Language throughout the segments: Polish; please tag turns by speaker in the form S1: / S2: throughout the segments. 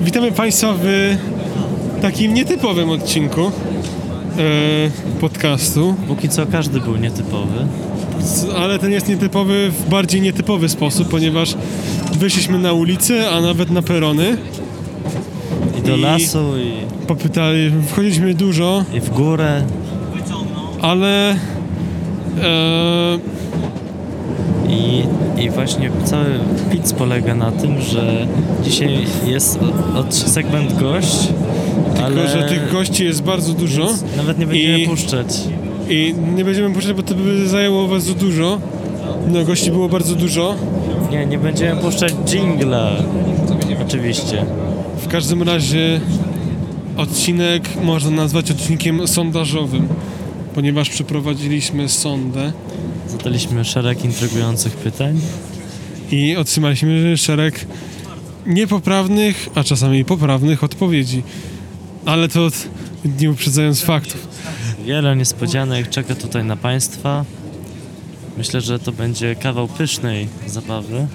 S1: Witamy Państwa w takim nietypowym odcinku e, podcastu,
S2: Póki co każdy był nietypowy.
S1: S- ale ten jest nietypowy w bardziej nietypowy sposób, ponieważ wyszliśmy na ulicę, a nawet na perony.
S2: I do
S1: I-
S2: lasu, i,
S1: Popytali, wchodziliśmy dużo,
S2: i w górę.
S1: ale e,
S2: I, I właśnie cały pizz polega na tym, że dzisiaj jest o- od segment gość, ale
S1: tylko, że tych gości jest bardzo dużo.
S2: nawet nie będziemy
S1: I-
S2: puszczać.
S1: I nie będziemy puszczać, bo to by zajęło bardzo dużo. No, gości było bardzo dużo.
S2: Nie, nie będziemy puszczać jingla. Oczywiście.
S1: W każdym razie odcinek można nazwać odcinkiem sondażowym, ponieważ przeprowadziliśmy sondę
S2: Zadaliśmy szereg intrygujących pytań.
S1: i otrzymaliśmy szereg niepoprawnych, a czasami poprawnych odpowiedzi. Ale to od- nie uprzedzając faktów.
S2: Wiele niespodzianek czeka tutaj na Państwa. Myślę, że to będzie kawał pysznej zabawy.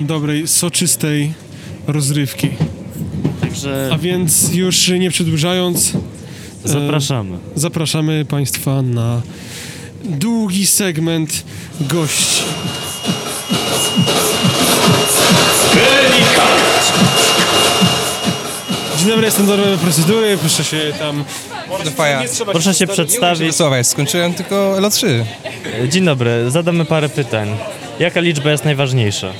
S1: Dobrej, soczystej rozrywki.
S2: Także
S1: A e, więc już nie przedłużając,
S2: zapraszamy.
S1: zapraszamy Państwa na długi segment gości. Dzień dobry, jestem Darmowe Procedury, proszę się tam...
S3: Faja.
S2: Proszę się przedstawić.
S3: Słuchaj, skończyłem tylko L3.
S2: Dzień dobry, zadamy parę pytań. Jaka liczba jest najważniejsza?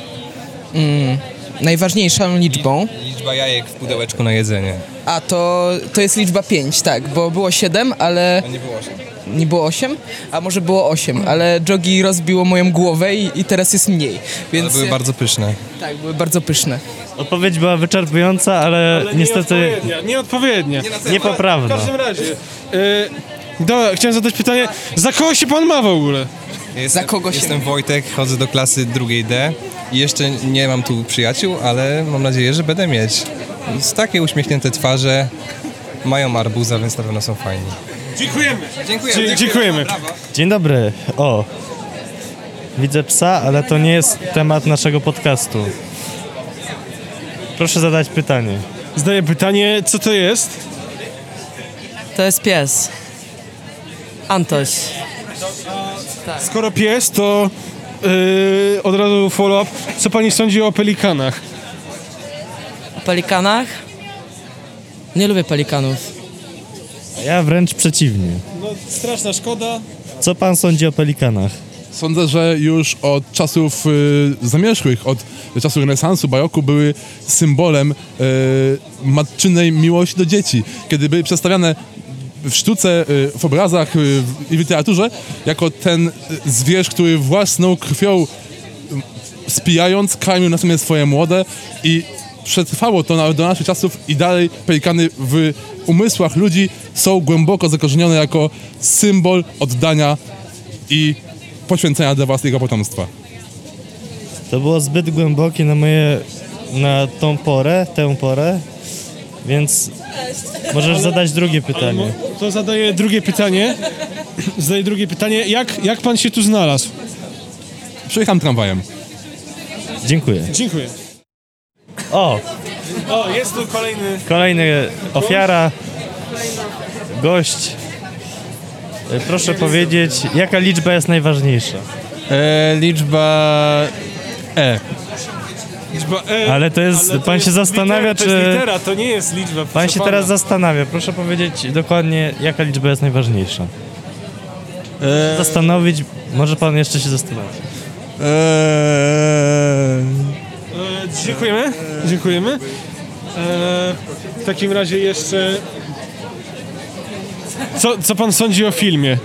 S4: najważniejszą liczbą,
S3: Liczba jajek w pudełeczku na jedzenie.
S4: a to, to jest liczba 5, tak, bo było 7, ale
S3: nie było 8.
S4: nie było 8, a może było 8, ale jogi rozbiło moją głowę i, i teraz jest mniej,
S3: To
S4: więc
S3: były bardzo pyszne.
S4: tak, były bardzo pyszne.
S2: Odpowiedź była wyczerpująca, ale, E, niestety
S1: Nieodpowiednia, nieodpowiednia. W
S2: niepoprawna.
S1: każdym razie... Yy, dobra, chciałem zadać pytanie, za kogo się pan ma w ogóle?
S3: Jestem,
S4: Za kogo się-
S3: Jestem Wojtek, chodzę do klasy drugiej D i jeszcze nie mam tu przyjaciół, ale mam nadzieję, że będę mieć. Z takie uśmiechnięte twarze mają arbuza, więc na pewno są fajni.
S1: Dziękujemy.
S3: Dziękuję.
S1: dziękujemy.
S2: Dzień dobry. O. Widzę psa, ale to nie jest temat naszego podcastu. Proszę zadać pytanie.
S1: Zadaję pytanie, co to jest?
S4: To jest pies. Antoś.
S1: Skoro pies, to yy, od razu follow-up. Co pani sądzi o pelikanach?
S4: O pelikanach? Nie lubię pelikanów.
S2: Ja wręcz przeciwnie.
S1: No, straszna szkoda.
S2: Co pan sądzi o pelikanach?
S5: Sądzę, że już od czasów y, zamierzchłych, od czasu renesansu, baroku były symbolem y, matczynej miłości do dzieci. Kiedy były przedstawiane w sztuce, y, w obrazach y, w- i w literaturze jako ten y, zwierz, który własną krwią y, spijając karmił natomiast swoje młode i przetrwało to nawet do naszych czasów i dalej pelikany w umysłach ludzi są głęboko zakorzenione jako symbol oddania i poświęcenia dla własnego potomstwa.
S2: To było zbyt głębokie na moje. na tą porę, tę porę. Więc możesz zadać drugie pytanie.
S1: To zadaję drugie pytanie. Zadaję drugie pytanie. Jak, jak pan się tu znalazł?
S5: Przyjechałem tramwajem.
S2: Dziękuję.
S1: Dziękuję.
S2: O,
S1: O, jest tu kolejny.
S2: kolejny ofiara, gość. E, Proszę powiedzieć, jaka liczba jest najważniejsza?
S3: liczba E.
S1: Liczba E.
S2: Ale to jest-
S1: ale to
S2: pan się zastanawia,
S1: to jest
S2: czy-
S1: litera, to nie jest liczba.
S2: Pan
S1: proszę
S2: się teraz
S1: pana.
S2: zastanawia. Proszę powiedzieć dokładnie, jaka liczba jest najważniejsza. Zastanowić, może pan jeszcze się zastanowi.
S1: E, dziękujemy. Dziękujemy. E, w takim razie jeszcze... Co, co pan sądzi o filmie?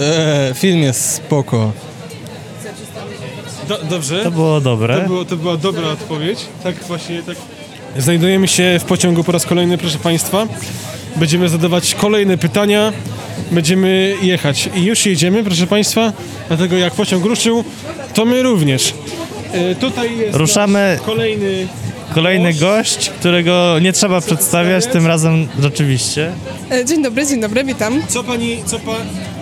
S3: E, film jest spoko.
S1: Do, dobrze?
S2: To było dobre.
S1: To, było, to była dobra odpowiedź. Tak właśnie tak. Znajdujemy się w pociągu po raz kolejny, proszę Państwa. Będziemy zadawać kolejne pytania. Będziemy jechać. I już jedziemy, proszę Państwa. Dlatego jak pociąg ruszył, to my również. E, tutaj jest
S2: Ruszamy.
S1: nasz kolejny.
S2: Kolejny gość, którego nie trzeba przedstawiać, tym razem rzeczywiście.
S6: E, Dzień dobry, dzień dobry, witam.
S1: Co pani, co, pa,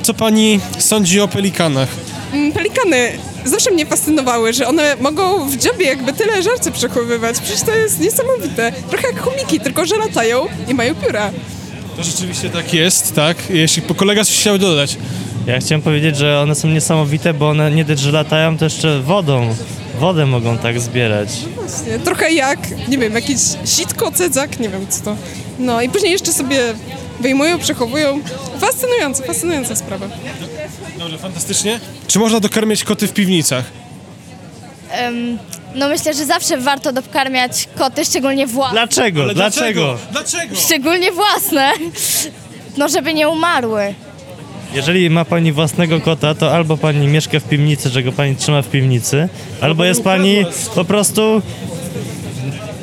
S1: co pani sądzi o pelikanach?
S6: Mm, Pelikany zawsze mnie fascynowały, że one mogą w dziobie jakby tyle żarcie przechowywać. Przecież to jest niesamowite. Trochę jak chomiki, tylko że latają i mają pióra.
S1: To rzeczywiście tak jest, tak. Jeśli kolega coś chciał dodać.
S2: Ja chciałem powiedzieć, że one są niesamowite, bo one nie dość, że latają, to jeszcze wodą. Wodę mogą tak zbierać.
S6: Właśnie, trochę jak, nie wiem, jakiś sitko, cedzak, nie wiem co to. No i później jeszcze sobie wyjmują, przechowują. Fascynująca, fascynująca sprawa.
S1: Dobrze, fantastycznie. Czy można dokarmiać koty w piwnicach?
S7: Em, no myślę, że zawsze warto dokarmiać koty, szczególnie własne.
S2: Dlaczego?
S1: Ale
S2: dlaczego?
S1: Dlaczego?
S7: Szczególnie własne. No, żeby nie umarły.
S2: Jeżeli ma pani własnego kota, to albo pani mieszka w piwnicy, że go pani trzyma w piwnicy, albo jest pani po prostu...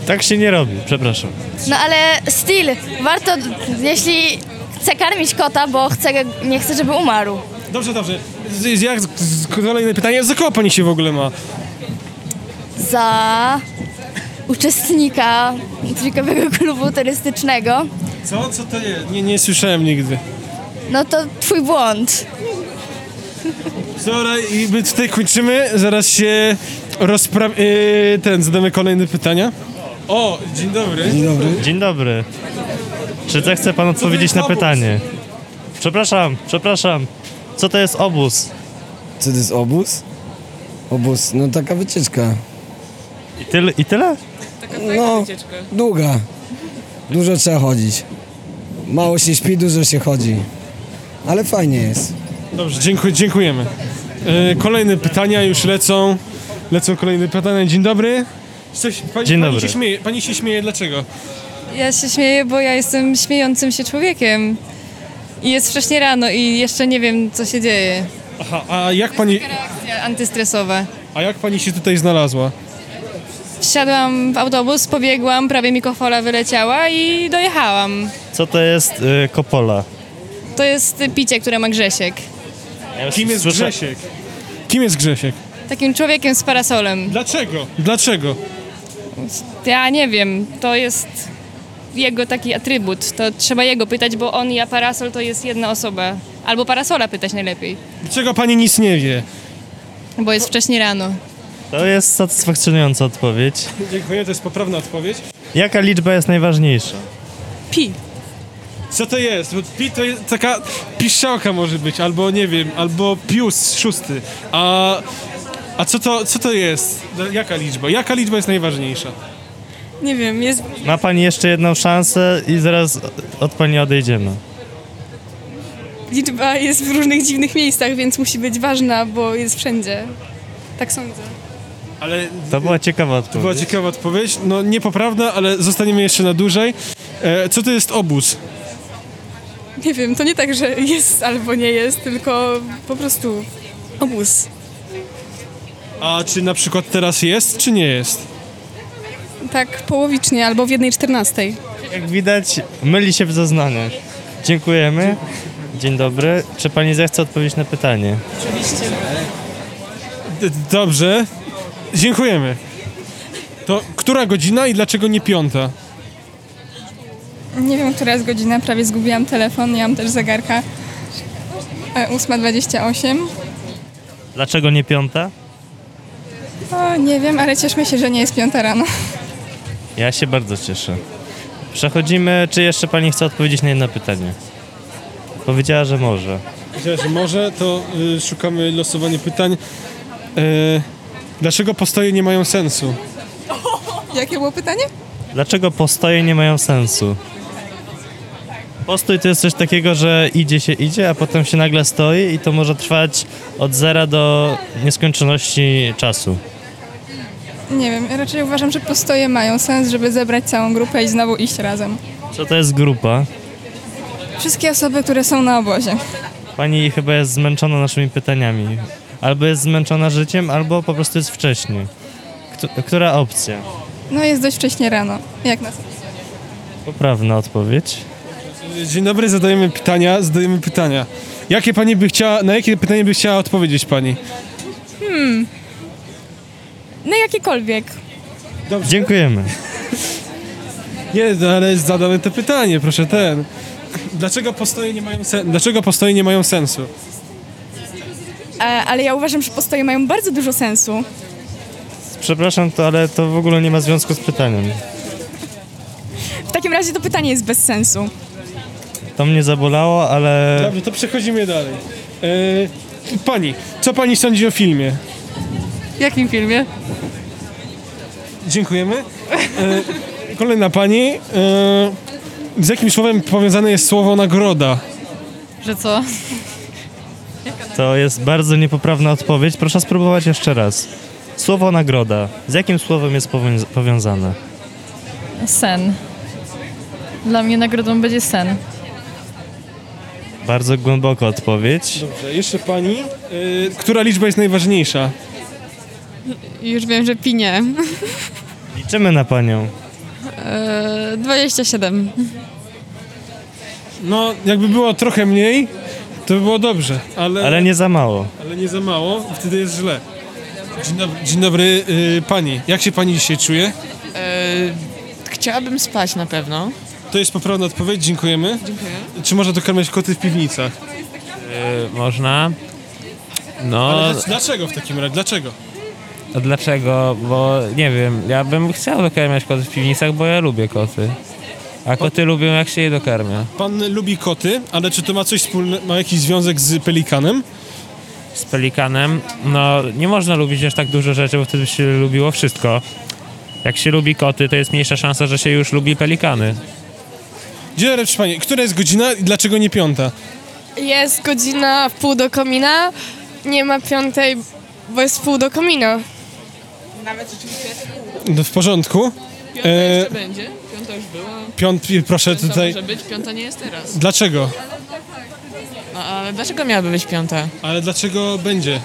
S2: Tak się nie robi, przepraszam.
S7: No ale still, warto, jeśli chce karmić kota, bo chce, nie chce, żeby umarł.
S1: Dobrze, dobrze. Z, z, jak, z, kolejne pytanie. Za kogo pani się w ogóle ma?
S7: Za uczestnika trójkowego klubu turystycznego.
S1: Co? Co to jest? Nie, nie słyszałem nigdy.
S7: No to twój błąd.
S1: Dobra, i my tutaj kończymy. Zaraz się rozpra... Yy, ten, zadamy kolejne pytania. O, dzień dobry.
S2: Dzień dobry. Czy zechce pan odpowiedzieć na
S1: obóz?
S2: pytanie? Przepraszam, przepraszam. Co to jest obóz?
S8: Co to jest obóz? Obóz, no taka wycieczka.
S2: I, tyl, i tyle?
S8: No, długa. Dużo trzeba chodzić. Mało się śpi, dużo się chodzi. Ale fajnie jest.
S1: Dobrze, dziękuję, dziękujemy. E, kolejne pytania już lecą. Lecą kolejne pytania. Dzień dobry. Coś, pani,
S2: Dzień
S1: pani
S2: dobry.
S1: Się śmieje, pani się śmieje, dlaczego?
S9: Ja się śmieję, bo ja jestem śmiejącym się człowiekiem. I jest wcześnie rano i jeszcze nie wiem, co się dzieje.
S1: Aha, a jak pani,
S9: Reakcja antystresowa.
S1: a jak pani się tutaj znalazła?
S9: Wsiadłam w autobus, pobiegłam, prawie mi kofola wyleciała i dojechałam.
S2: Co to jest y, kopola?
S9: To jest picie, które ma Grzesiek.
S2: Ja już
S1: Kim jest
S2: słysza-
S1: Grzesiek? Kim jest Grzesiek?
S9: Takim człowiekiem z parasolem.
S1: Dlaczego? Dlaczego?
S9: Ja nie wiem, to jest jego taki atrybut. To trzeba jego pytać, bo on i ja parasol to jest jedna osoba. Albo parasola pytać najlepiej,
S1: Dlaczego pani nic nie wie?
S9: bo jest wcześnie rano.
S2: To jest satysfakcjonująca odpowiedź.
S1: Dziękuję, to jest poprawna odpowiedź.
S2: Jaka liczba jest najważniejsza?
S6: Pi.
S1: Co to jest? Bo pi to jest taka piszczałka może być, albo nie wiem, albo pius szósty. A, a co, to, co to jest? No, Jaka liczba? Jaka liczba jest najważniejsza?
S6: Nie wiem, jest
S2: Ma pani jeszcze jedną szansę i zaraz od pani odejdziemy.
S6: liczba jest w różnych dziwnych miejscach, więc musi być ważna, bo jest wszędzie. Tak sądzę.
S1: Ale
S2: To była ciekawa odpowiedź.
S1: była ciekawa odpowiedź. No niepoprawna, ale zostaniemy jeszcze na dłużej. E, co to jest obóz?
S6: Nie wiem, to nie tak, że jest albo nie jest, tylko po prostu obóz.
S1: A czy na przykład teraz jest, czy nie jest?
S6: Tak połowicznie, albo w jednej czternastej.
S2: Jak widać, myli się w zeznaniach. Dziękujemy. Dzień dobry. Czy pani zechce odpowiedzieć na pytanie?
S1: D- dobrze. Dziękujemy. To która godzina i dlaczego nie piąta?
S6: Nie wiem, która jest godzina, prawie zgubiłam telefon, nie mam też zegarka. E, 8.28.
S2: Dlaczego nie piąta?
S6: O, nie wiem, ale cieszmy się, że nie jest piąta rano.
S2: Ja się bardzo cieszę. Przechodzimy, czy jeszcze pani chce odpowiedzieć na jedno pytanie? Powiedziała, że może.
S1: Chociaż może, to y, szukamy losowania pytań. E, dlaczego postoje nie mają sensu?
S6: Jakie było pytanie?
S2: Dlaczego postoje nie mają sensu? Postój to jest coś takiego, że idzie się idzie, a potem się nagle stoi i to może trwać od zera do nieskończoności czasu.
S6: Nie wiem, raczej uważam, że postoje mają sens, żeby zebrać całą grupę i znowu iść razem.
S2: Co to jest grupa?
S6: Wszystkie osoby, które są na obozie.
S2: Pani chyba jest zmęczona naszymi pytaniami. Albo jest zmęczona życiem, albo po prostu jest wcześniej. Kto- Która opcja?
S6: No jest dość wcześnie rano, jak nas.
S2: Poprawna odpowiedź.
S1: Dzień dobry, zadajemy pytania, zadajemy pytania. Jakie pani by chciała, na jakie pytanie by chciała odpowiedzieć pani?
S9: No jakiekolwiek.
S2: Dziękujemy.
S1: Nie, no ale zadamy to pytanie, proszę ten. Dlaczego postoje nie mają, sen- dlaczego postoje nie mają sensu?
S10: E, ale ja uważam, że postoje mają bardzo dużo sensu.
S2: Przepraszam, to, ale to w ogóle nie ma związku z pytaniem.
S10: W takim razie to pytanie jest bez sensu.
S2: To mnie zabolało, ale...
S1: Dobrze, to przechodzimy dalej. E, pani, co pani sądzi o filmie?
S11: W jakim filmie?
S1: Dziękujemy. E, kolejna pani. E, z jakim słowem powiązane jest słowo nagroda?
S11: Że co?
S2: To jest bardzo niepoprawna odpowiedź. Proszę spróbować jeszcze raz. Słowo nagroda. Z jakim słowem jest powią- powiązane?
S11: Sen. Dla mnie nagrodą będzie sen.
S2: Bardzo głęboka odpowiedź.
S1: Dobrze, jeszcze pani. E, która liczba jest najważniejsza?
S11: Już wiem, że pinie.
S2: Liczymy na panią.
S12: E,
S11: Eee, 27.
S1: No, jakby było trochę mniej, to by było dobrze, ale...
S2: Ale nie za mało.
S1: Ale nie za mało, wtedy jest źle. Dzień dobry, dzień dobry y, pani. Jak się pani dzisiaj czuje?
S13: chciałabym spać na pewno.
S1: To jest poprawna odpowiedź, dziękujemy.
S13: Dziękuję.
S1: Czy można dokarmiać koty w piwnicach?
S14: Y, można. No,
S1: Ale dlac- dlaczego w takim razie? Dlaczego?
S14: a dlaczego? Bo nie wiem, ja bym chciał dokarmiać koty w piwnicach, bo ja lubię koty. A koty lubią jak się je dokarmia.
S1: Pan lubi koty, ale czy to ma coś wspólnego, ma jakiś związek z pelikanem?
S14: Z pelikanem, no nie można lubić aż tak dużo rzeczy, bo wtedy by się lubiło wszystko. Jak się lubi koty, to jest mniejsza szansa, że się już lubi pelikany.
S1: Dzień dobry, proszę pani. Która jest godzina i dlaczego nie piąta?
S12: Jest godzina w pół do komina, nie ma piątej, bo jest pół do komina.
S13: Nawet rzeczywiście
S1: No, w porządku.
S13: piąta
S1: E,
S13: jeszcze będzie. Piąta już była.
S1: Piąt, proszę
S13: Piąta
S1: tutaj.
S13: może być, piąta nie jest teraz.
S1: Dlaczego?
S13: No ale dlaczego miałaby być piąta?
S1: Ale dlaczego będzie?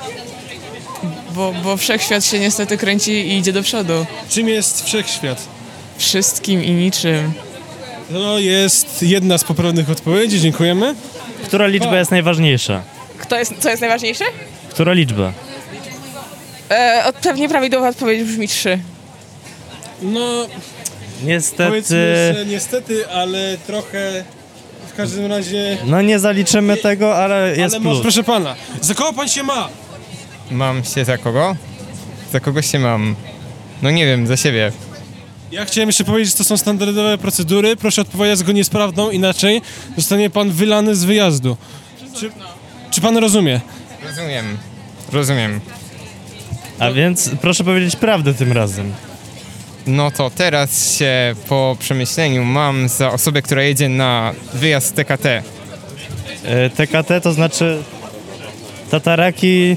S13: Bo, bo wszechświat się niestety kręci i idzie do przodu.
S1: Czym jest wszechświat?
S13: Wszystkim i niczym.
S1: To jest jedna z poprawnych odpowiedzi, dziękujemy.
S2: Która liczba jest najważniejsza?
S13: Kto jest, co jest najważniejsze?
S2: Która liczba?
S13: E, od, pewnie prawidłowa odpowiedź brzmi trzy.
S1: No, powiedzmy,
S2: Niestety...
S1: że niestety, ale trochę w każdym razie...
S2: No nie zaliczymy tego, ale jest
S1: ale
S2: plus.
S1: może, proszę pana, za kogo pan się ma?
S15: Mam się za kogo? Za kogo się mam? No nie wiem, za siebie.
S1: Ja chciałem jeszcze powiedzieć, że to są standardowe procedury. Proszę odpowiadać zgodnie z prawdą, inaczej zostanie pan wylany z wyjazdu. Czy, czy pan rozumie?
S15: Rozumiem. Rozumiem.
S2: A więc proszę powiedzieć prawdę tym razem.
S15: No to teraz się po przemyśleniu mam za osobę, która jedzie na wyjazd TKT.
S2: E, TKT to znaczy... Tataraki...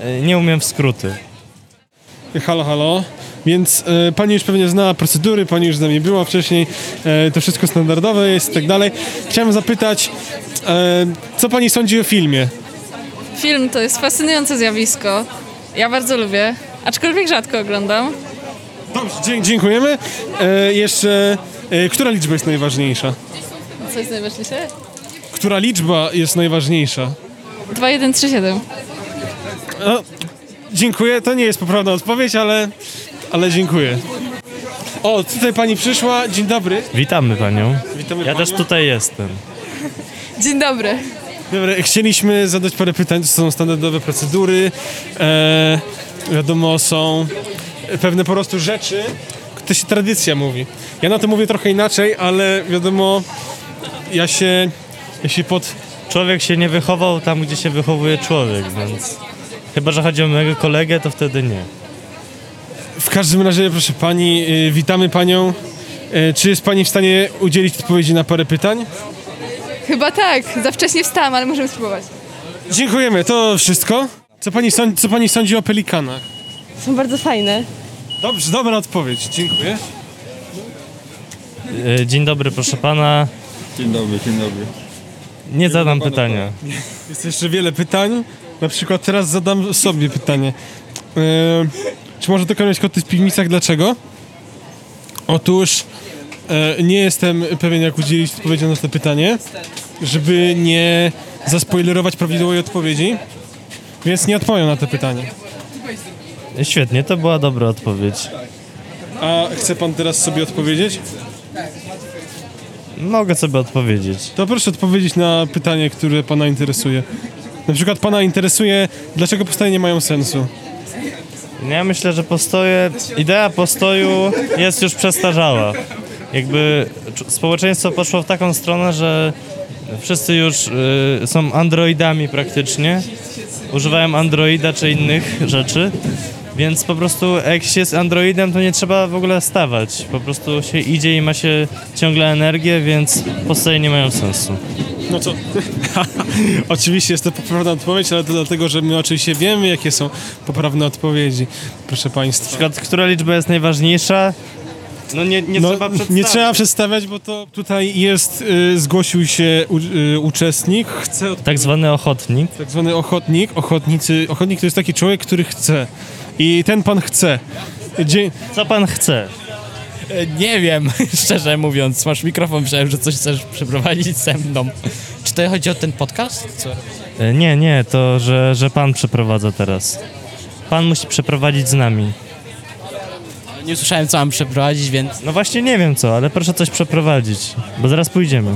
S2: e, Nie umiem w skróty.
S1: Halo, halo. Więc e, pani już pewnie zna procedury, pani już z nami była wcześniej, e, to wszystko standardowe jest i tak dalej. Chciałem zapytać, e, co pani sądzi o filmie?
S11: Film to jest fascynujące zjawisko. Ja bardzo lubię, aczkolwiek rzadko oglądam.
S1: Dobrze, dzie- dziękujemy. E, jeszcze, e, która liczba jest najważniejsza?
S11: Co jest najważniejsze?
S1: Która liczba jest najważniejsza?
S11: 2137.
S1: No, dziękuję, to nie jest poprawna odpowiedź, ale, ale dziękuję. O, tutaj pani przyszła, dzień dobry.
S2: Witamy panią.
S1: Witamy
S2: ja
S1: panią.
S2: też tutaj jestem.
S12: Dzień dobry.
S1: Dobra, chcieliśmy zadać parę pytań, to są standardowe procedury, e, wiadomo, są pewne po prostu rzeczy, to się tradycja mówi. Ja na to mówię trochę inaczej, ale wiadomo, ja się, ja się pod...
S2: Człowiek się nie wychował tam, gdzie się wychowuje człowiek, więc... Chyba, że chodzi o mojego kolegę, to wtedy nie.
S1: W każdym razie, proszę pani, y, witamy panią. Y, czy jest pani w stanie udzielić odpowiedzi na parę pytań?
S10: Chyba tak, za wcześnie wstałam, ale możemy spróbować.
S1: Dziękujemy, to wszystko. Co pani, sądzi, co pani sądzi o pelikanach?
S16: Są bardzo fajne.
S1: Dobrze, dobra odpowiedź, dziękuję.
S2: E, Dzień dobry, proszę pana.
S17: Dzień dobry, dzień dobry.
S2: Nie zadam pytania.
S1: Jest jeszcze wiele pytań. Na przykład teraz zadam sobie pytanie. Yy, czy może dokonać koty w piwnicach? Dlaczego? Otóż e, nie jestem pewien, jak udzielić odpowiedzi na to pytanie, żeby nie zaspoilerować prawidłowej odpowiedzi, więc nie odpowiem na to pytanie.
S2: Świetnie, to była dobra odpowiedź.
S1: A chce pan teraz sobie odpowiedzieć?
S2: Mogę sobie odpowiedzieć.
S1: To proszę odpowiedzieć na pytanie, które pana interesuje. Na przykład pana interesuje, dlaczego powstania nie mają sensu.
S2: Ja myślę, że postoje, idea postoju jest już przestarzała. Jakby cz- społeczeństwo poszło w taką stronę, że wszyscy już y, są androidami praktycznie. Używają androida czy innych rzeczy. Więc po prostu jak się jest androidem, to nie trzeba w ogóle stawać. Po prostu się idzie i ma się ciągle energię, więc postoje nie mają sensu.
S1: No co? oczywiście jest to poprawna odpowiedź, ale to dlatego, że my oczywiście wiemy, jakie są poprawne odpowiedzi. Proszę państwa. Na
S2: przykład, która liczba jest najważniejsza? No nie, nie trzeba
S1: Nie
S2: przedstawiać.
S1: trzeba przedstawiać, bo to tutaj jest, y, zgłosił się u, y, uczestnik, chce...
S2: Tak zwany ochotnik.
S1: Tak zwany ochotnik, ochotnicy, ochotnik to jest taki człowiek, który chce. I ten pan chce. Dzie-
S2: Co pan chce?
S16: E, Nie wiem, szczerze mówiąc. Masz mikrofon, myślałem, że coś chcesz przeprowadzić ze mną. Czy to chodzi o ten podcast? Co?
S2: E, Nie, nie, to że, że pan przeprowadza teraz. Pan musi przeprowadzić z nami.
S16: Nie słyszałem, co mam przeprowadzić, więc...
S2: No właśnie nie wiem co, ale proszę coś przeprowadzić, bo zaraz pójdziemy.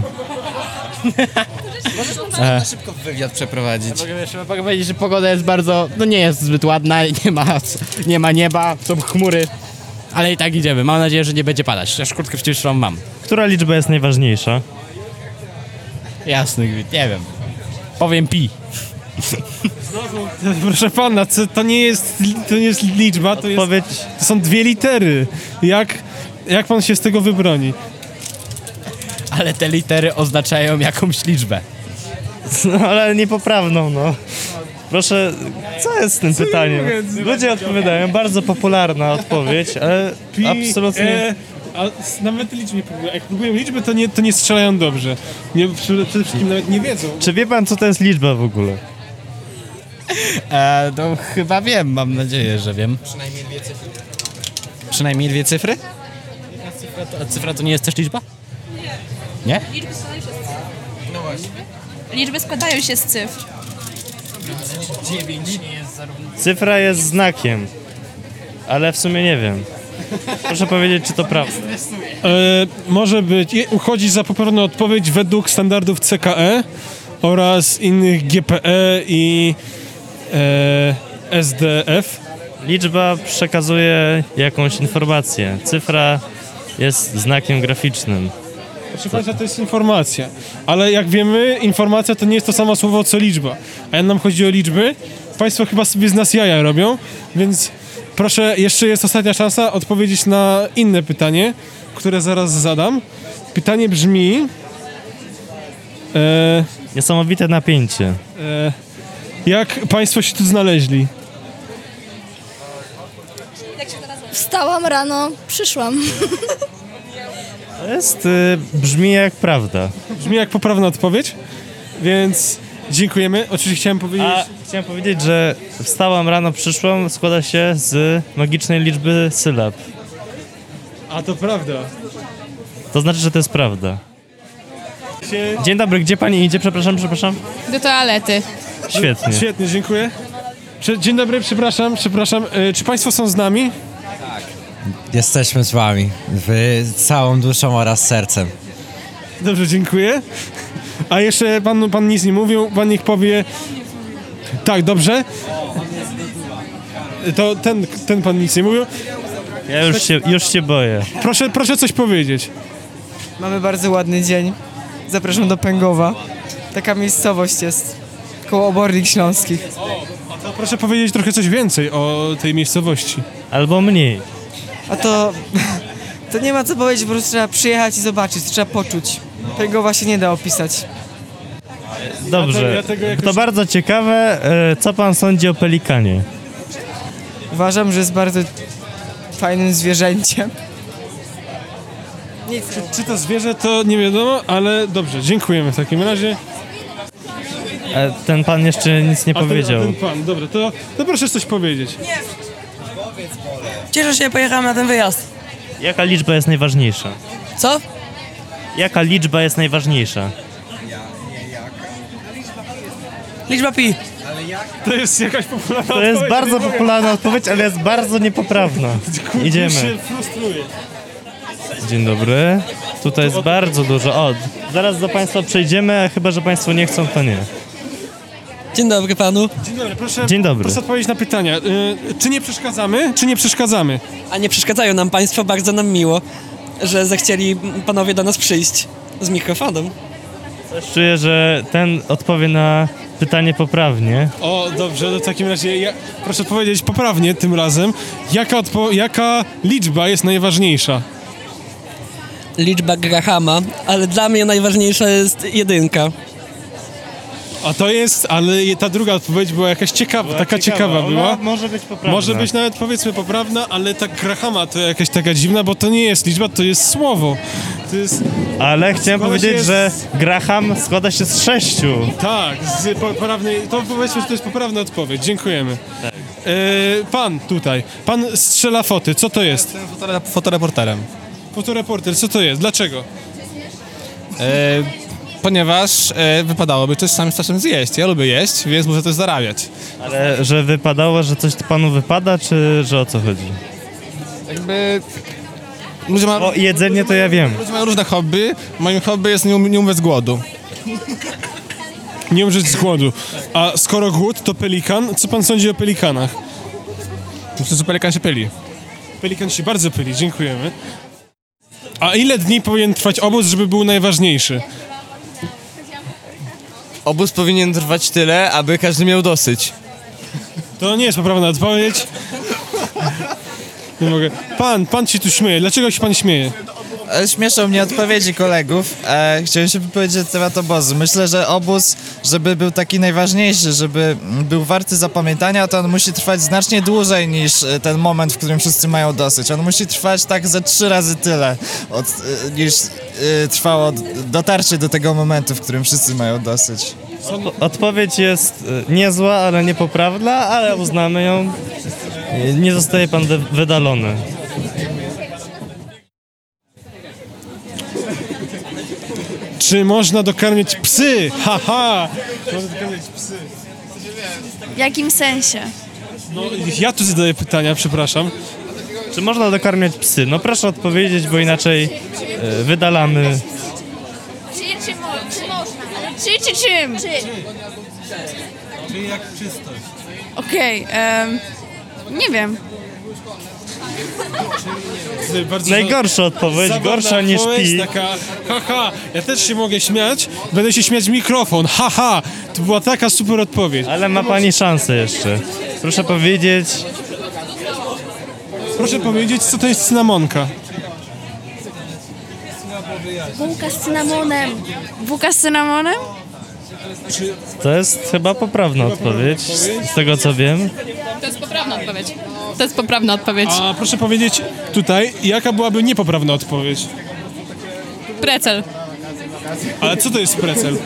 S16: Możesz szybko wywiad przeprowadzić.
S2: Ja
S16: Mogę powiedzieć, że pogoda jest bardzo... No nie jest zbyt ładna i nie ma, nie ma nieba, są chmury. Ale i tak idziemy. Mam nadzieję, że nie będzie padać. Chociaż kurtkę wciąż mam.
S2: Która liczba jest najważniejsza?
S16: Jasny gwint, nie wiem. Powiem pi.
S1: Proszę pana, co- to nie jest, li- to nie jest liczba, to, jest, to są dwie litery. Jak, jak pan się z tego wybroni?
S16: Ale te litery oznaczają jakąś liczbę.
S2: No ale niepoprawną, no. Proszę, co jest z tym pytaniem? Ludzie odpowiadają, bardzo popularna odpowiedź, ale
S1: Pi,
S2: absolutnie...
S1: e, a s- nawet liczb nie próbują. Jak próbują liczby, to nie, to nie strzelają dobrze. Nie, przede wszystkim nawet nie wiedzą.
S2: Czy wie pan, co to jest liczba w ogóle?
S16: E, no chyba wiem, mam nadzieję, że wiem. Przynajmniej dwie cyfry. Przynajmniej dwie cyfry? A cyfra to nie jest też liczba? Nie?
S17: Liczby składają się z cyfr.
S16: No właśnie.
S17: Liczby składają się z cyfr.
S16: Dziewięć nie jest zarówno...
S2: Cyfra jest znakiem, ale w sumie nie wiem. Proszę powiedzieć, czy to prawda.
S1: E, może być, je- uchodzi za poprawną odpowiedź według standardów CKE oraz innych GPE i e, SDF.
S2: Liczba przekazuje jakąś informację. Cyfra jest znakiem graficznym.
S1: Proszę Państwa, to jest informacja, ale jak wiemy, informacja to nie jest to samo słowo co liczba. A jak nam chodzi o liczby, Państwo chyba sobie z nas jaja robią, więc proszę, jeszcze jest ostatnia szansa odpowiedzieć na inne pytanie, które zaraz zadam. Pytanie brzmi. E,
S2: Niesamowite napięcie.
S1: e, jak Państwo się tu znaleźli?
S7: Wstałam rano, przyszłam.
S2: To jest, y, brzmi jak prawda.
S1: Brzmi jak poprawna odpowiedź, więc dziękujemy. Oczywiście chciałem powiedzieć.
S2: A chciałem powiedzieć, że wstałam rano, przyszłam, składa się z magicznej liczby sylab.
S1: A to prawda.
S2: To znaczy, że to jest prawda. Dzień dobry, gdzie pani idzie? Przepraszam, przepraszam.
S11: Do toalety.
S2: Świetnie.
S1: Świetnie, dziękuję. Prze- Dzień dobry, przepraszam, przepraszam. E, Czy Państwo są z nami?
S18: Jesteśmy z wami. Wy całą duszą oraz sercem.
S1: Dobrze, dziękuję. A jeszcze pan, pan nic nie mówił, pan niech powie. Tak, dobrze. E, To ten, ten pan nic nie mówił.
S2: Ja już się, już się boję.
S1: Proszę, proszę coś powiedzieć.
S19: Mamy bardzo ładny dzień. Zapraszam do Pęgowa. Taka miejscowość jest koło Obornik Śląskich.
S1: To proszę powiedzieć trochę coś więcej o tej miejscowości.
S2: Albo mniej.
S19: A to... To nie ma co powiedzieć, po prostu trzeba przyjechać i zobaczyć, trzeba poczuć. Pęgowa się nie da opisać.
S2: Dobrze. To bardzo ciekawe, y, co pan sądzi o pelikanie?
S19: Uważam, że jest bardzo fajnym zwierzęciem.
S1: Czy, czy to zwierzę, to nie wiadomo, ale dobrze, dziękujemy w takim razie.
S2: E, Ten pan jeszcze nic nie
S1: A ten-
S2: powiedział.
S1: A ten pan, dobra, to, to proszę coś powiedzieć.
S20: Cieszę się, pojechałem na ten wyjazd.
S2: Jaka liczba jest najważniejsza?
S20: Co?
S2: Jaka liczba jest najważniejsza?
S20: Liczba pi.
S1: To jest jakaś popularna
S2: To jest bardzo popularna odpowiedź, ale jest bardzo niepoprawna. Idziemy.
S1: frustruje.
S2: Dzień dobry. Tutaj jest bardzo dużo. O, zaraz do Państwa przejdziemy, a chyba, że Państwo nie chcą, to nie.
S1: Dzień dobry panu. Dzień dobry, proszę,
S2: Dzień dobry.
S1: proszę odpowiedzieć na pytania. Y, czy nie przeszkadzamy, czy nie przeszkadzamy?
S20: A nie przeszkadzają nam państwo, bardzo nam miło, że zechcieli panowie do nas przyjść z mikrofonem.
S2: Czuję, że ten odpowie na pytanie poprawnie.
S1: O, dobrze, to w takim razie ja, proszę odpowiedzieć poprawnie tym razem. Jaka, odpo- jaka liczba jest najważniejsza?
S20: Liczba Grahama, ale dla mnie najważniejsza jest jedynka.
S1: A to jest, ale je- ta druga odpowiedź była jakaś ciekawa,
S2: Była
S1: taka
S2: ciekawa.
S1: ciekawa
S2: Ona
S1: była.
S2: może być poprawna.
S1: Może być nawet powiedzmy poprawna, ale ta Grahama to jakaś taka dziwna, bo to nie jest liczba, to jest słowo. To jest...
S2: Ale chciałem
S1: składa się
S2: powiedzieć,
S1: z-
S2: że Graham składa się z sześciu.
S1: Tak, z po- poprawnej, to powiedzmy, że to jest poprawna odpowiedź, dziękujemy.
S21: Tak.
S1: E, pan tutaj, pan strzela foty, co to jest?
S21: Jestem fotoreporterem.
S1: Fotoreporter, co to jest, dlaczego?
S21: E, ponieważ e, wypadałoby coś samym czasem zjeść. Ja lubię jeść, więc muszę coś zarabiać.
S2: Ale że wypadało, że coś panu wypada, czy że o co chodzi?
S21: Jakby... Ludzie ma...
S2: O jedzenie to ja wiem.
S21: Ludzie mają różne hobby. Moim hobby jest nie, um- nie umrzeć z głodu.
S1: Nie umrzeć z głodu. A skoro głód to pelikan, co pan sądzi o pelikanach?
S21: Myślę, że pelikan się pyli.
S1: Pelikan się bardzo pyli, dziękujemy. A ile dni powinien trwać obóz, żeby był najważniejszy?
S22: Obóz powinien trwać tyle, aby każdy miał dosyć.
S1: To nie jest poprawna odpowiedź. Nie mogę. Pan, pan się tu śmieje. Dlaczego się pan śmieje?
S23: E, Śmieszą mnie odpowiedzi kolegów. E, chciałem się wypowiedzieć na temat obozu. Myślę, że obóz, żeby był taki najważniejszy, żeby mm, był warty zapamiętania, to on musi trwać znacznie dłużej niż e, ten moment, w którym wszyscy mają dosyć. On musi trwać tak ze trzy razy tyle, od, e, niż e, trwało d- dotarcie do tego momentu, w którym wszyscy mają dosyć.
S2: Odpo- Odpowiedź jest y, niezła, ale niepoprawna, ale uznamy ją. Y, Nie zostaje pan de- wydalony.
S1: Czy można dokarmić psy? Haha! Można dokarmić psy.
S17: W jakim sensie?
S1: No, ja tu zadaję pytania, przepraszam.
S2: Czy można dokarmiać psy? No proszę odpowiedzieć, bo inaczej y, wydalamy.
S7: Czy, czy, mo- czy można? Czy, czy czym? Czy.
S22: Czyli jak czystość.
S17: Okej, em, nie wiem.
S1: Bardzo
S2: Najgorsza odpowiedź,
S1: zabawna
S2: gorsza niż
S1: odpowiedź, tak.
S2: pi.
S1: Taka, haha, ja też się mogę śmiać, będę się śmiać w mikrofon, haha. To była taka super odpowiedź.
S2: Ale ma pani szansę jeszcze. Proszę powiedzieć,
S1: Proszę powiedzieć, co to jest cynamonka?
S17: Bułka z cynamonem. Bułka z cynamonem?
S2: to jest chyba poprawna odpowiedź, z z tego co wiem.
S11: To jest poprawna odpowiedź. To jest poprawna odpowiedź.
S1: A proszę powiedzieć tutaj, jaka byłaby niepoprawna odpowiedź?
S11: Precel.
S1: Ale co to jest precel?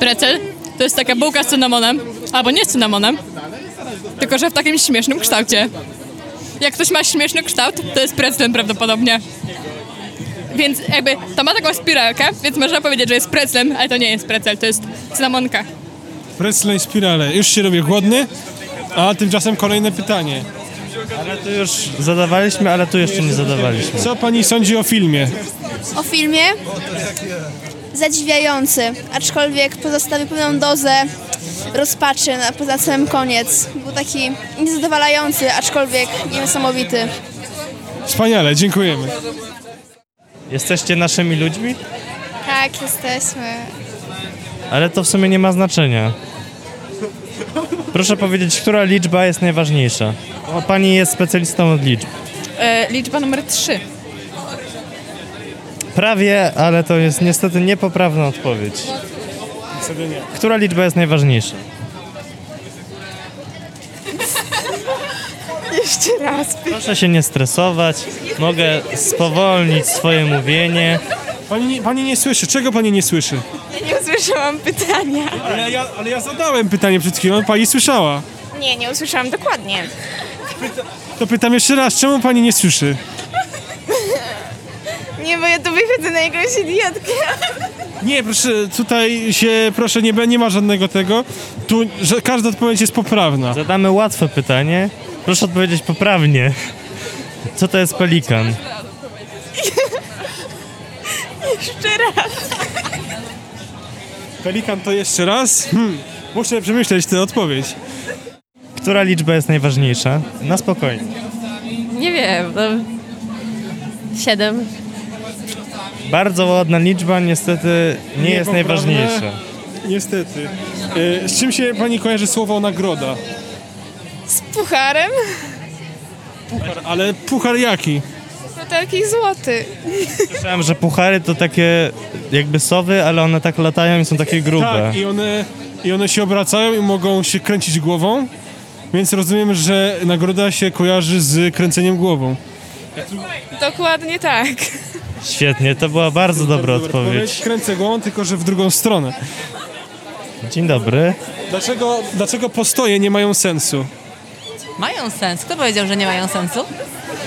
S11: Precel to jest taka bułka z cynamonem, albo nie z cynamonem, tylko że w takim śmiesznym kształcie. Jak ktoś ma śmieszny kształt, to jest preclem prawdopodobnie. Więc jakby to ma taką spiralkę, więc można powiedzieć, że jest preclem, ale to nie jest precel, to jest cynamonka.
S1: Precel i spirale. Już się robię głodny, a tymczasem kolejne pytanie. Ale
S2: to już zadawaliśmy, ale tu jeszcze nie zadawaliśmy.
S1: Co pani sądzi o filmie?
S7: O filmie? Zadziwiający, aczkolwiek pozostawił pewną dozę rozpaczy na, poza samym koniec. Był taki niezadowalający, aczkolwiek niesamowity.
S1: Wspaniale, dziękujemy.
S2: Jesteście naszymi ludźmi?
S7: Tak, jesteśmy.
S2: Ale to w sumie nie ma znaczenia. Proszę powiedzieć, która liczba jest najważniejsza? Bo pani jest specjalistą od liczb.
S24: E, liczba numer 3.
S2: Prawie, ale to jest niestety niepoprawna odpowiedź.
S1: Niestety nie.
S2: Która liczba jest najważniejsza?
S24: Jeszcze raz.
S2: Proszę się nie stresować, mogę spowolnić swoje mówienie.
S1: Pani, nie- pani nie słyszy, czego pani nie słyszy?
S24: Nie usłyszałam pytania.
S1: Ale ja, ale ja zadałem pytanie przed chwilą, pani słyszała.
S24: Nie, nie usłyszałam dokładnie.
S1: To pytam jeszcze raz, czemu pani nie słyszy?
S24: Nie, bo ja tu wychodzę na jakąś idiotkę.
S1: Nie, proszę, tutaj się, proszę, nie, be- nie ma żadnego tego. Tu że każda odpowiedź jest poprawna.
S2: Zadamy łatwe pytanie. Proszę odpowiedzieć poprawnie. Co to jest pelikan?
S24: Jeszcze raz.
S1: Pelikan to jeszcze raz? Hmm. Muszę przemyśleć tę odpowiedź.
S2: Która liczba jest najważniejsza? Na spokojnie.
S3: Nie wiem. No. Siedem.
S2: Bardzo ładna liczba, niestety nie jest
S1: Niepoprawne.
S2: najważniejsza.
S1: Niestety. E, Z czym się pani kojarzy słowo nagroda?
S10: Z pucharem?
S1: Puchar, ale puchar jaki?
S10: No taki złoty.
S2: Słyszałem, że puchary to takie jakby sowy, ale one tak latają i są takie grube.
S1: Tak, i one, i one się obracają i mogą się kręcić głową, więc rozumiem, że nagroda się kojarzy z kręceniem głową.
S10: Dokładnie tak.
S2: Świetnie, to była bardzo dobra odpowiedź.
S1: Kręcę głową, tylko że w drugą stronę.
S2: Dzień dobry.
S1: Dlaczego, dlaczego postoje nie mają sensu?
S4: Mają sens. Kto powiedział, że nie mają sensu?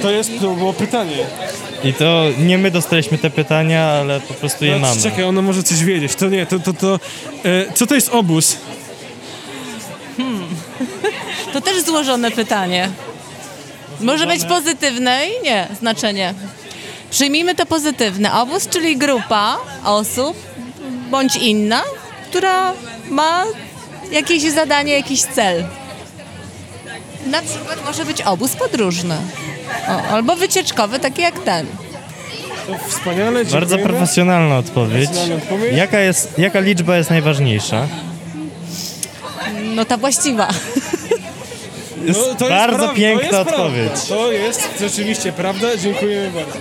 S1: To jest to było pytanie.
S2: I to nie my dostaliśmy te pytania, ale po prostu je
S1: No,
S2: mamy.
S1: czekaj, ona może coś wiedzieć. To nie, to, to, to e, co to jest obóz?
S4: To też złożone pytanie. Może być pozytywne i nie znaczenie. Przyjmijmy to pozytywne. Obóz, czyli grupa osób bądź inna, która ma jakieś zadanie, jakiś cel. Na przykład może być obóz podróżny. O, albo wycieczkowy, taki jak ten.
S1: Wspaniale, dziękujemy.
S2: Bardzo profesjonalna odpowiedź.
S1: Profesjonalna odpowiedź.
S2: Jaka, jest, jaka liczba jest najważniejsza?
S4: No ta właściwa.
S2: Jest
S1: No, to
S2: bardzo
S1: prawda,
S2: piękna
S1: to jest
S2: odpowiedź.
S1: Prawda. To jest rzeczywiście prawda, dziękujemy bardzo.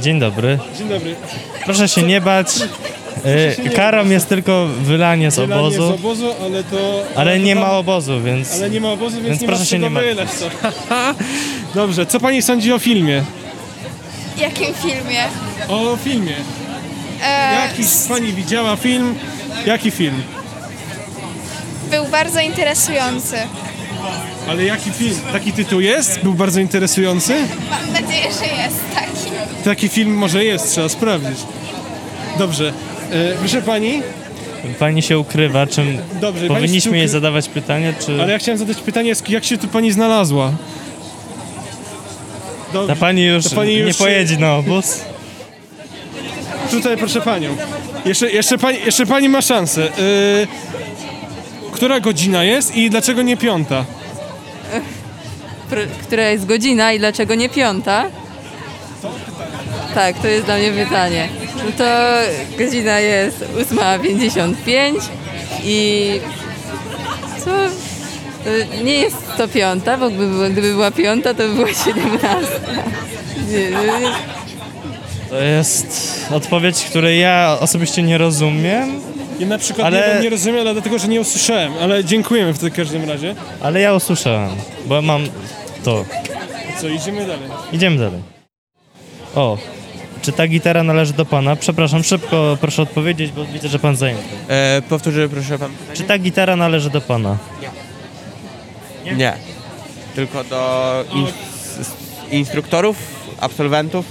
S2: Dzień dobry.
S1: Dzień dobry.
S2: Proszę się nie bać.
S1: się nie
S2: E, Karą jest tylko wylanie z
S1: Wylanie z
S2: obozu,
S1: obozu, ale to...
S2: ale
S1: to
S2: nie
S1: tam-
S2: ma obozu, więc...
S1: Ale nie ma obozu, więc,
S2: Więc
S1: nie
S2: proszę
S1: ma
S2: się nie
S1: czego
S2: martwić.
S1: wylać, co? Dobrze, co pani sądzi o filmie?
S7: W jakim filmie?
S1: O filmie.
S7: E,
S1: Jaki pani widziała film? Jaki film?
S7: był bardzo interesujący.
S1: Ale jaki film? Taki tytuł jest? Był bardzo interesujący?
S7: Mam nadzieję, że jest taki.
S1: Taki film może jest, trzeba sprawdzić. Dobrze. E, proszę pani,
S2: Tak. Pani się ukrywa, czym
S1: Dobrze, pani się
S2: powinniśmy
S1: ukry-
S2: jej zadawać pytanie, czy...
S1: ale ja chciałem zadać pytanie, jak się tu pani znalazła? Dobrze.
S2: Ta pani już,
S1: To pani
S2: nie
S1: już-
S2: pojedzie na obóz.
S1: Tutaj proszę panią. Jeszcze, jeszcze, pani, jeszcze pani ma szansę. Y, która godzina jest i dlaczego nie piąta?
S5: Pr- która jest godzina i dlaczego nie piąta? Tak, to jest dla mnie pytanie. No to godzina jest 8.55 i co? To nie jest to piąta, bo gdyby, była- gdyby była piąta, to by była 17. Nie, no nie.
S2: To jest odpowiedź, której ja osobiście nie rozumiem.
S1: Ja na przykład
S2: Ale-
S1: nie, nie rozumiem, ale dlatego, że nie usłyszałem, ale dziękujemy w każdym razie.
S2: Ale ja usłyszałem, bo mam to.
S1: Co, idziemy dalej.
S2: Idziemy dalej. O, czy ta gitara należy do pana? Przepraszam, szybko proszę odpowiedzieć, bo widzę, że pan zajęty.
S8: E, powtórzę, proszę pan.
S2: Czy ta gitara należy do pana?
S8: Nie. Tylko do ins- instruktorów, absolwentów.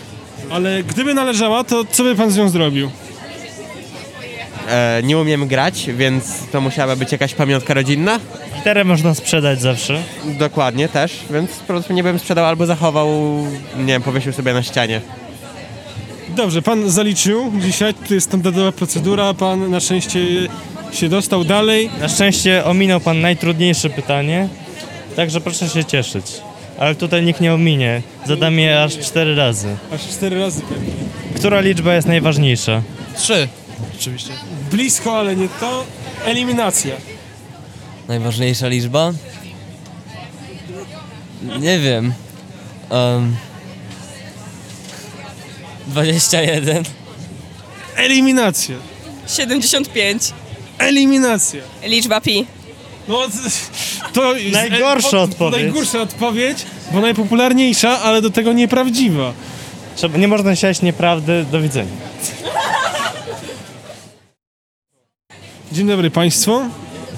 S1: Ale gdyby należała, to co by pan z nią zrobił?
S8: E, nie umiem grać, więc to musiała być jakaś pamiątka rodzinna.
S2: Gitarę można sprzedać zawsze.
S8: Dokładnie też, więc po prostu nie bym sprzedał albo zachował, nie wiem, powiesił sobie na ścianie.
S1: Dobrze, pan zaliczył dzisiaj, to jest standardowa procedura, pan na szczęście się dostał dalej.
S2: Na szczęście ominął pan najtrudniejsze pytanie, także proszę się cieszyć. Ale tutaj nikt nie ominie. Zadam je aż cztery razy.
S1: Aż cztery razy pewnie.
S2: Która liczba jest najważniejsza?
S1: Trzy, oczywiście. Blisko, ale nie to. Eliminacja.
S22: Najważniejsza liczba? Nie wiem. Um, 21.
S1: Eliminacja.
S10: 75.
S1: Eliminacja.
S10: Liczba pi.
S1: No, to jest
S2: Najgorsza
S1: e,
S2: odpowiedź.
S1: Najgorsza odpowiedź, bo najpopularniejsza, ale do tego nieprawdziwa.
S2: Trzeba, nie można siać nieprawdy. Do widzenia.
S1: Dzień dobry Państwu.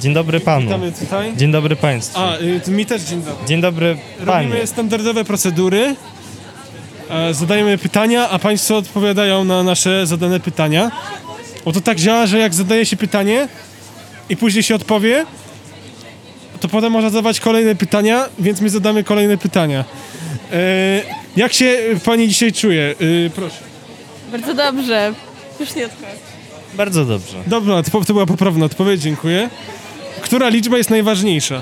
S2: Dzień dobry Panu.
S1: Witamy tutaj.
S2: Dzień dobry Państwu.
S1: A, y, to mi też dzień dobry.
S2: Dzień dobry Panie.
S1: Robimy standardowe procedury. E, Zadajemy pytania, a Państwo odpowiadają na nasze zadane pytania. Bo to tak działa, że jak zadaje się pytanie i później się odpowie, to potem można zadawać kolejne pytania, więc my zadamy kolejne pytania. E, Jak się Pani dzisiaj czuje? Y, Proszę.
S5: Bardzo dobrze. Już nie odpowiem.
S2: Bardzo dobrze.
S1: Dobra, to to była poprawna odpowiedź, dziękuję. Która liczba jest najważniejsza?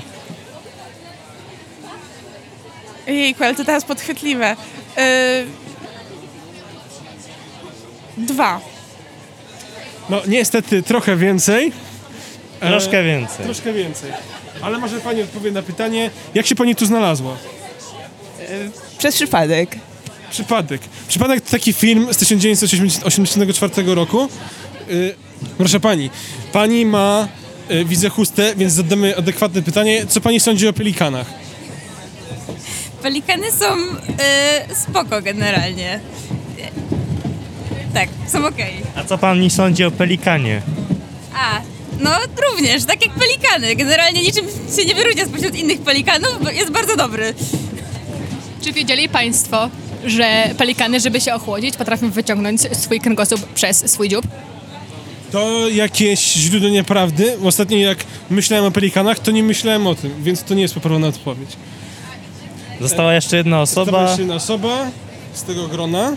S6: Jejku, ale to teraz podchwytliwe. Yy... Dwa.
S1: No niestety trochę więcej. E,
S2: Troszkę więcej.
S1: Troszkę więcej. Ale może pani odpowie na pytanie, jak się pani tu znalazła?
S6: Przez przypadek.
S1: Przypadek. Przypadek to taki film z 1984 roku. Y, proszę pani, pani ma, y, widzę chustę, więc zadamy adekwatne pytanie. Co pani sądzi o pelikanach?
S9: Pelikany są y, spoko generalnie. Y, Tak, są okej.
S2: A co pan mi sądzi o pelikanie?
S9: A, no również, tak jak pelikany. Generalnie niczym się nie wyróżnia spośród innych pelikanów, bo jest bardzo dobry.
S11: Czy wiedzieli Państwo, że pelikany, żeby się ochłodzić, potrafią wyciągnąć swój kręgosłup przez swój dziób?
S1: To jakieś źródło nieprawdy. Ostatnio jak myślałem o pelikanach, to nie myślałem o tym, więc to nie jest poprawna odpowiedź.
S2: Została jeszcze jedna
S1: Została
S2: osoba.
S1: jeszcze jedna osoba z tego grona.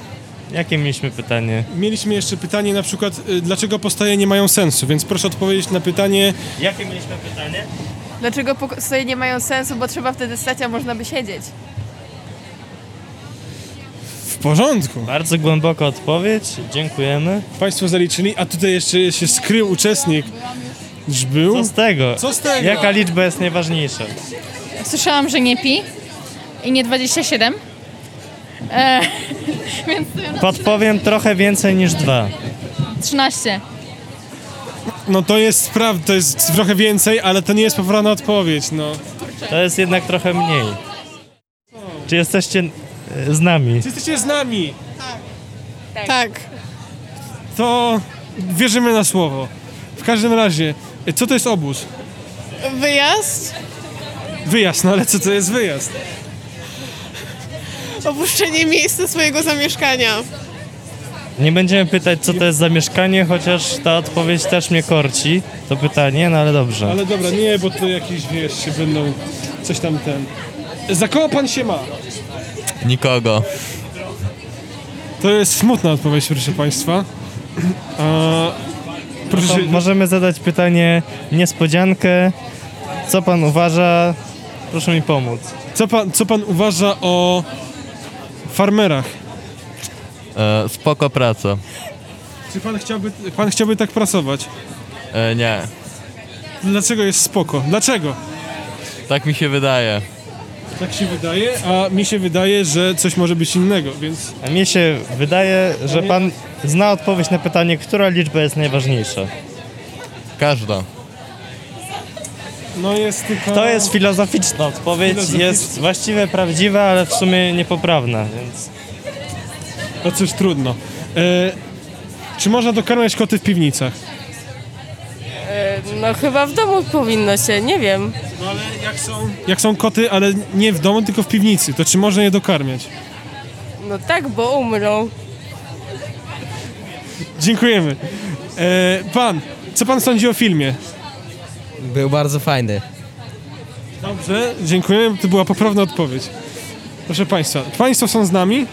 S2: Jakie mieliśmy pytanie?
S1: Mieliśmy jeszcze pytanie na przykład, y, dlaczego postaje nie mają sensu, więc proszę odpowiedzieć na pytanie...
S2: Jakie mieliśmy pytanie?
S17: Dlaczego pokoje nie mają sensu, bo trzeba wtedy stać, a można by siedzieć?
S1: W porządku.
S2: Bardzo głęboka odpowiedź, dziękujemy.
S1: Państwo zaliczyli, a tutaj jeszcze się skrył uczestnik. Już był?
S2: Co z tego?
S1: Co z tego?
S2: Jaka liczba jest najważniejsza?
S13: Słyszałam, że nie pi i nie 27. E, więc
S2: Podpowiem trochę więcej niż dwa.
S13: 13.
S1: No to jest prawda, to jest trochę więcej, ale to nie jest poprawna odpowiedź, no.
S2: To jest jednak trochę mniej. Czy jesteście e, z nami?
S1: Czy jesteście z nami?
S13: Tak.
S1: To wierzymy na słowo. W każdym razie, y, co to jest obóz?
S13: Wyjazd?
S1: Wyjazd, no ale co to jest wyjazd?
S13: Opuszczenie miejsca swojego zamieszkania.
S2: Nie będziemy pytać, co to jest za mieszkanie, chociaż ta odpowiedź też mnie korci, to pytanie, no ale dobrze.
S1: Ale dobra, nie, bo to jakieś, wiesz, się będą coś tam ten... Za kogo pan się ma?
S22: Nikogo.
S1: To jest smutna odpowiedź, proszę państwa. A, proszę
S2: To
S1: się...
S2: możemy zadać pytanie niespodziankę. Co pan uważa? Proszę mi pomóc.
S1: Co pan, co pan uważa o farmerach?
S22: E, spoko praca.
S1: Czy pan chciałby, pan chciałby tak pracować?
S22: E, nie.
S1: Dlaczego jest spoko? Dlaczego?
S22: Tak mi się wydaje.
S1: Tak się wydaje, a mi się wydaje, że coś może być innego, więc...
S2: A mnie się wydaje, że pan zna odpowiedź na pytanie, która liczba jest najważniejsza.
S22: Każda.
S1: No jest tylko...
S2: To jest filozoficzna odpowiedź,
S1: Filozoficzna.
S2: jest właściwie prawdziwa, ale w sumie niepoprawna, więc...
S1: No cóż, trudno. E, czy można dokarmiać koty w piwnicach?
S14: No chyba w domu powinno się, nie wiem.
S1: No ale jak są? Jak są koty, ale nie w domu, tylko w piwnicy, to czy można je dokarmiać?
S14: No tak, bo umrą.
S1: Dziękujemy. E, pan, co pan sądzi o filmie?
S25: Był bardzo fajny.
S1: Dobrze, dziękujemy, to była poprawna odpowiedź. Proszę państwa, państwo są z nami?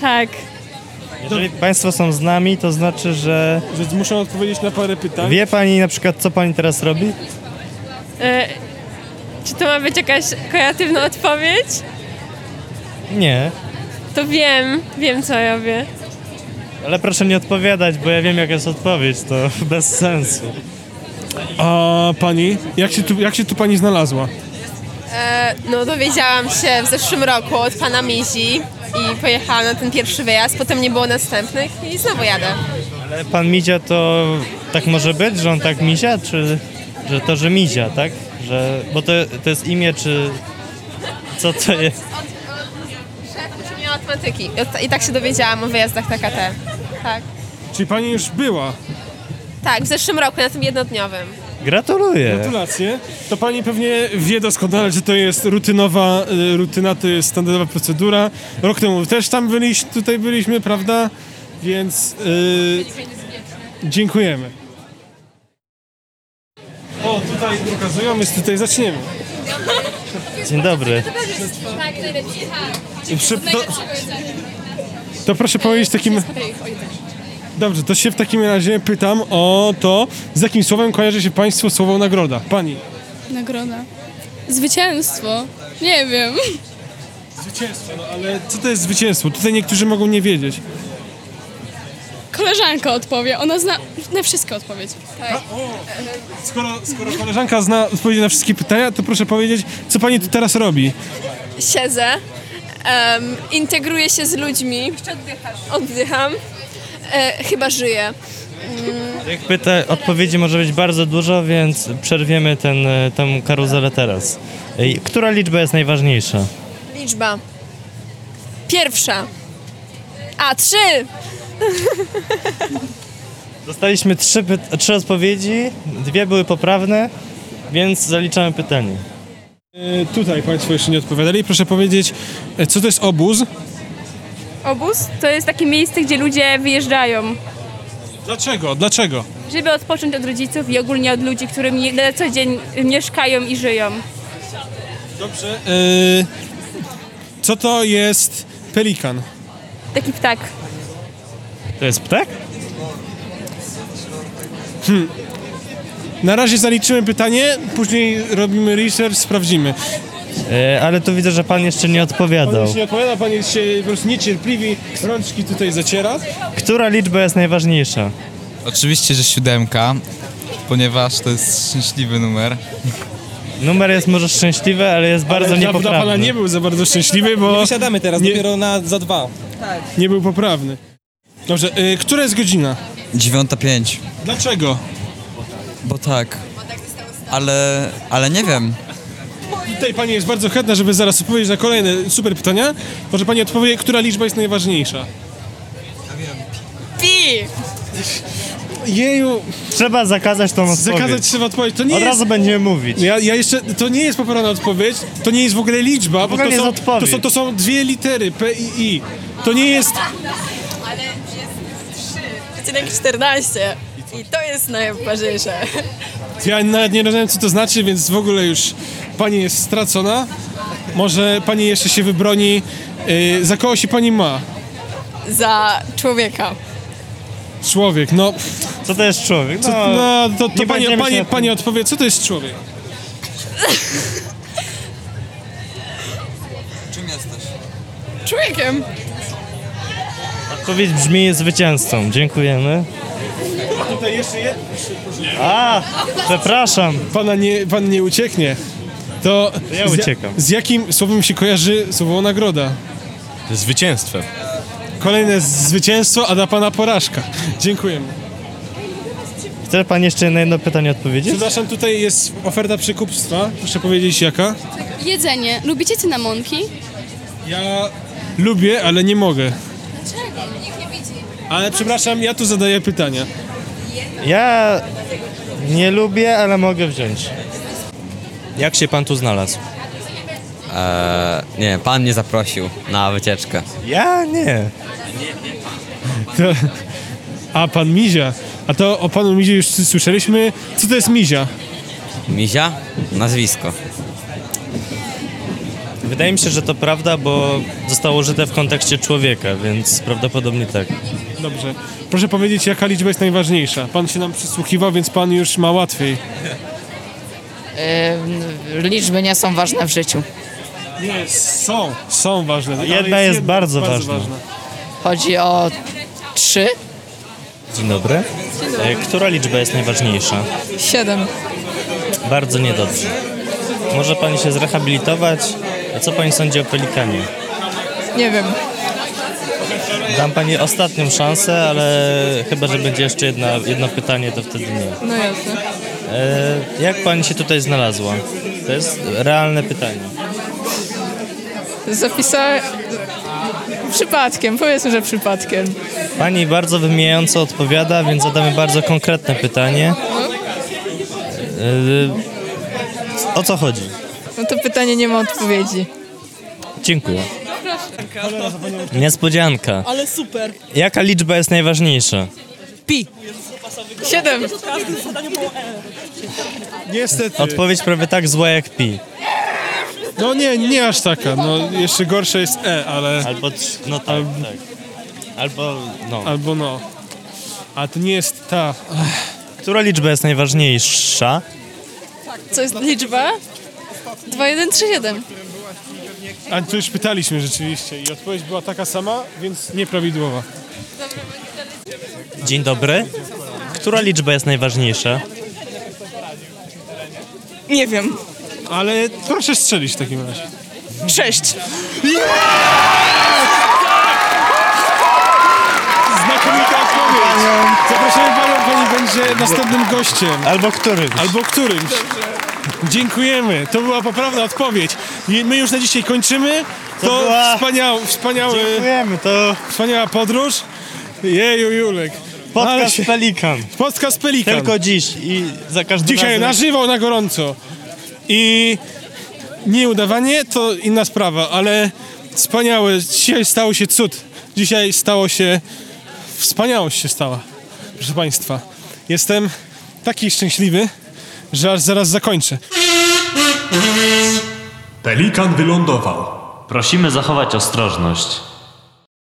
S13: Tak.
S2: Jeżeli państwo są z nami, to znaczy, że...
S1: Że muszę odpowiedzieć na parę pytań.
S2: Wie pani na przykład, co pani teraz robi?
S13: E, czy to ma być jakaś kreatywna odpowiedź?
S2: Nie.
S13: To wiem, wiem co robię.
S2: Ale proszę nie odpowiadać, bo ja wiem, jaka jest odpowiedź, to bez sensu.
S1: A pani, jak się tu, jak się tu pani znalazła?
S26: E, no dowiedziałam się w zeszłym roku od pana Mizi i pojechałam na ten pierwszy wyjazd, potem nie było następnych i znowu jadę.
S2: Ale pan Mizia to tak może być, że on tak Mizia, czy że to, że Mizia, tak? Że, bo to, to jest imię, czy co to jest?
S26: Uczy mnie matematyki I od- i tak się dowiedziałam o wyjazdach na KT. Tak.
S1: Czyli pani już była?
S26: tak, w zeszłym roku na tym jednodniowym.
S2: Gratuluję.
S1: Gratulacje. To pani pewnie wie doskonale, że to jest rutynowa, y, rutyna to jest standardowa procedura. Rok temu też tam byliśmy, tutaj byliśmy, prawda? Więc y, dziękujemy. O, tutaj pokazują, więc tutaj zaczniemy.
S2: Dzień dobry.
S26: Tak,
S1: To proszę powiedzieć takim... Dobrze, to się w takim razie pytam o to, z jakim słowem kojarzy się Państwu słowo nagroda? Pani.
S11: Nagroda. Zwycięstwo. Nie wiem.
S1: Zwycięstwo, no ale co to jest zwycięstwo? Tutaj niektórzy mogą nie wiedzieć.
S11: Koleżanka odpowie. Ona zna na wszystkie odpowiedzi.
S1: Tak. Skoro, skoro koleżanka zna odpowiedzi na wszystkie pytania, to proszę powiedzieć, co Pani tu teraz robi?
S12: siedzę, em, integruję się z ludźmi. Oddycham. E, chyba żyję. Mm,
S2: Tych pyta, odpowiedzi może być bardzo dużo, więc przerwiemy ten, e, tę karuzelę teraz. Ej, Która liczba jest najważniejsza?
S12: liczba. Pierwsza. A, trzy!
S2: Dostaliśmy trzy, pyt- trzy odpowiedzi, dwie były poprawne, więc zaliczamy pytanie.
S1: E, Tutaj Państwo jeszcze nie odpowiadali. Proszę powiedzieć, e, co to jest obóz?
S15: Obóz to jest takie miejsce, gdzie ludzie wyjeżdżają,
S1: Dlaczego? Dlaczego?
S15: żeby odpocząć od rodziców i ogólnie od ludzi, którymi na co dzień mieszkają i żyją.
S1: Dobrze. e, co to jest pelikan?
S15: Taki ptak.
S2: To jest ptak?
S1: Hmm. Na razie zaliczymy pytanie, później robimy research, sprawdzimy.
S2: E, Ale tu widzę, że pan jeszcze nie
S1: Pan
S2: odpowiadał.
S1: już nie odpowiada, pan jest się po prostu niecierpliwi, rączki tutaj zaciera.
S2: Która liczba jest najważniejsza?
S21: Oczywiście, że siódemka, ponieważ to jest szczęśliwy numer.
S2: Numer jest może szczęśliwy, ale jest bardzo
S1: Ale dla-
S2: niepoprawny.
S1: Dla pana nie był za bardzo szczęśliwy, bo... Nie wysiadamy teraz, dopiero na, za dwa. Nie był poprawny. Dobrze, y, która jest godzina?
S16: Dziewiąta pięć.
S1: Dlaczego?
S16: Bo tak. Ale, ale nie wiem.
S1: Tutaj pani jest bardzo chętna, żeby zaraz odpowiedzieć na kolejne super pytania. Może pani odpowie, która liczba jest najważniejsza?
S15: Pi!
S1: Jeju.
S2: Trzeba zakazać tą odpowiedź.
S1: Zakazać trzeba odpowiedź. To nie
S2: Od
S1: jest...
S2: razu będziemy mówić.
S1: Ja, ja jeszcze, to nie jest poprawna odpowiedź, to nie jest w ogóle liczba,
S2: ogóle
S1: to,
S2: nie
S1: są,
S2: jest odpowiedź.
S1: to, są, to są dwie litery, P i I. To nie jest...
S15: Ale jest trzy. 14. I to jest najważniejsze.
S1: Ja nawet nie rozumiem, co to znaczy, więc w ogóle już pani jest stracona. Może pani jeszcze się wybroni. Yy, za kogo się pani ma?
S15: Za człowieka.
S1: Człowiek, no...
S2: Co to jest człowiek?
S1: Co,
S2: No,
S1: no, to, to
S2: nie
S1: pani,
S2: będziemy się
S1: pani,
S2: nad tym-
S1: pani odpowie, co to jest człowiek?
S16: Czym jesteś?
S15: Człowiekiem.
S2: Odpowiedź brzmi jest zwycięzcą. Dziękujemy.
S1: Tutaj jeszcze jedno.
S2: A, przepraszam.
S1: Pana nie, pan nie ucieknie. To
S2: Ja
S1: z ja-
S2: uciekam.
S1: Z jakim słowem się kojarzy słowo nagroda?
S18: Zwycięstwem.
S1: Kolejne zwycięstwo, a dla pana porażka. Dziękujemy.
S2: Chce pan jeszcze na jedno pytanie odpowiedzieć?
S1: Przepraszam, tutaj jest oferta przekupstwa. Proszę powiedzieć jaka?
S19: Jedzenie. Lubicie cynamonki?
S1: Ja lubię, ale nie mogę.
S19: Dlaczego? Nikt nie widzi.
S1: Ale przepraszam, ja tu zadaję pytania.
S2: Ja nie lubię, ale mogę wziąć. Jak się pan tu znalazł?
S18: Eee, nie, pan mnie zaprosił na wycieczkę.
S2: Ja nie.
S1: To- A pan Mizia. A to o panu Mizie już słyszeliśmy. Co to jest Mizia?
S18: Mizia? Nazwisko.
S2: Wydaje mi się, że to prawda, bo zostało użyte w kontekście człowieka, więc prawdopodobnie tak.
S1: Dobrze. Proszę powiedzieć, jaka liczba jest najważniejsza. Pan się nam przysłuchiwał, więc pan już ma łatwiej.
S20: liczby nie są ważne w życiu.
S1: Nie, są. Są ważne. Ale
S20: Jedna jest bardzo ważna. Chodzi o trzy.
S2: Dzień dobry. E, Która liczba jest najważniejsza?
S4: Siedem.
S2: Bardzo niedobrze. Może pani się zrehabilitować? A co pani sądzi o pelikanie?
S4: Nie wiem.
S2: Dam pani ostatnią szansę, ale chyba, że będzie jeszcze jedna, jedno pytanie, to wtedy nie.
S4: No jasne.
S2: E, jak pani się tutaj znalazła? To jest realne pytanie.
S4: Zapisałem... Przypadkiem, powiedzmy, że przypadkiem.
S2: Pani bardzo wymijająco odpowiada, więc zadamy bardzo konkretne pytanie. E, o co chodzi?
S4: No to pytanie nie ma odpowiedzi.
S2: Dziękuję. Niespodzianka.
S27: Ale super.
S2: Jaka liczba jest najważniejsza?
S27: Pi.
S4: Siedem.
S1: Niestety.
S2: Odpowiedź prawie tak zła jak pi.
S1: No nie, nie aż taka. No, jeszcze gorsze jest E, ale...
S2: Albo... No tak, tak. Albo no.
S1: Albo no. A to nie jest ta.
S2: Która liczba jest najważniejsza?
S12: Co jest liczba? 2137.
S1: A tu już pytaliśmy rzeczywiście i odpowiedź była taka sama, więc nieprawidłowa.
S2: Dzień dobry. Która liczba jest najważniejsza?
S6: Nie wiem.
S1: Ale proszę strzelić w takim razie.
S6: Sześć.
S1: Znakomita odpowiedź! Zapraszamy panią, pani będzie następnym gościem.
S2: Albo którymś.
S1: Albo którymś. Dziękujemy, to była poprawna odpowiedź. I my już na dzisiaj kończymy. To,
S2: To była-
S1: wspaniały, wspaniały,
S2: Dziękujemy, to...
S1: wspaniała podróż. Jeju, Julek. Ale
S2: Podcast
S1: się-
S2: Pelikan.
S1: Podcast Pelikan.
S2: Tylko dziś i za każdym
S1: Dzisiaj
S2: razem...
S1: na żywo, na gorąco. I nieudawanie to inna sprawa, ale wspaniałe. Dzisiaj stało się cud. Dzisiaj stało się. Wspaniałość się stała. Proszę Państwa, jestem taki szczęśliwy, że aż zaraz zakończę.
S3: Pelikan wylądował.
S7: Prosimy zachować ostrożność.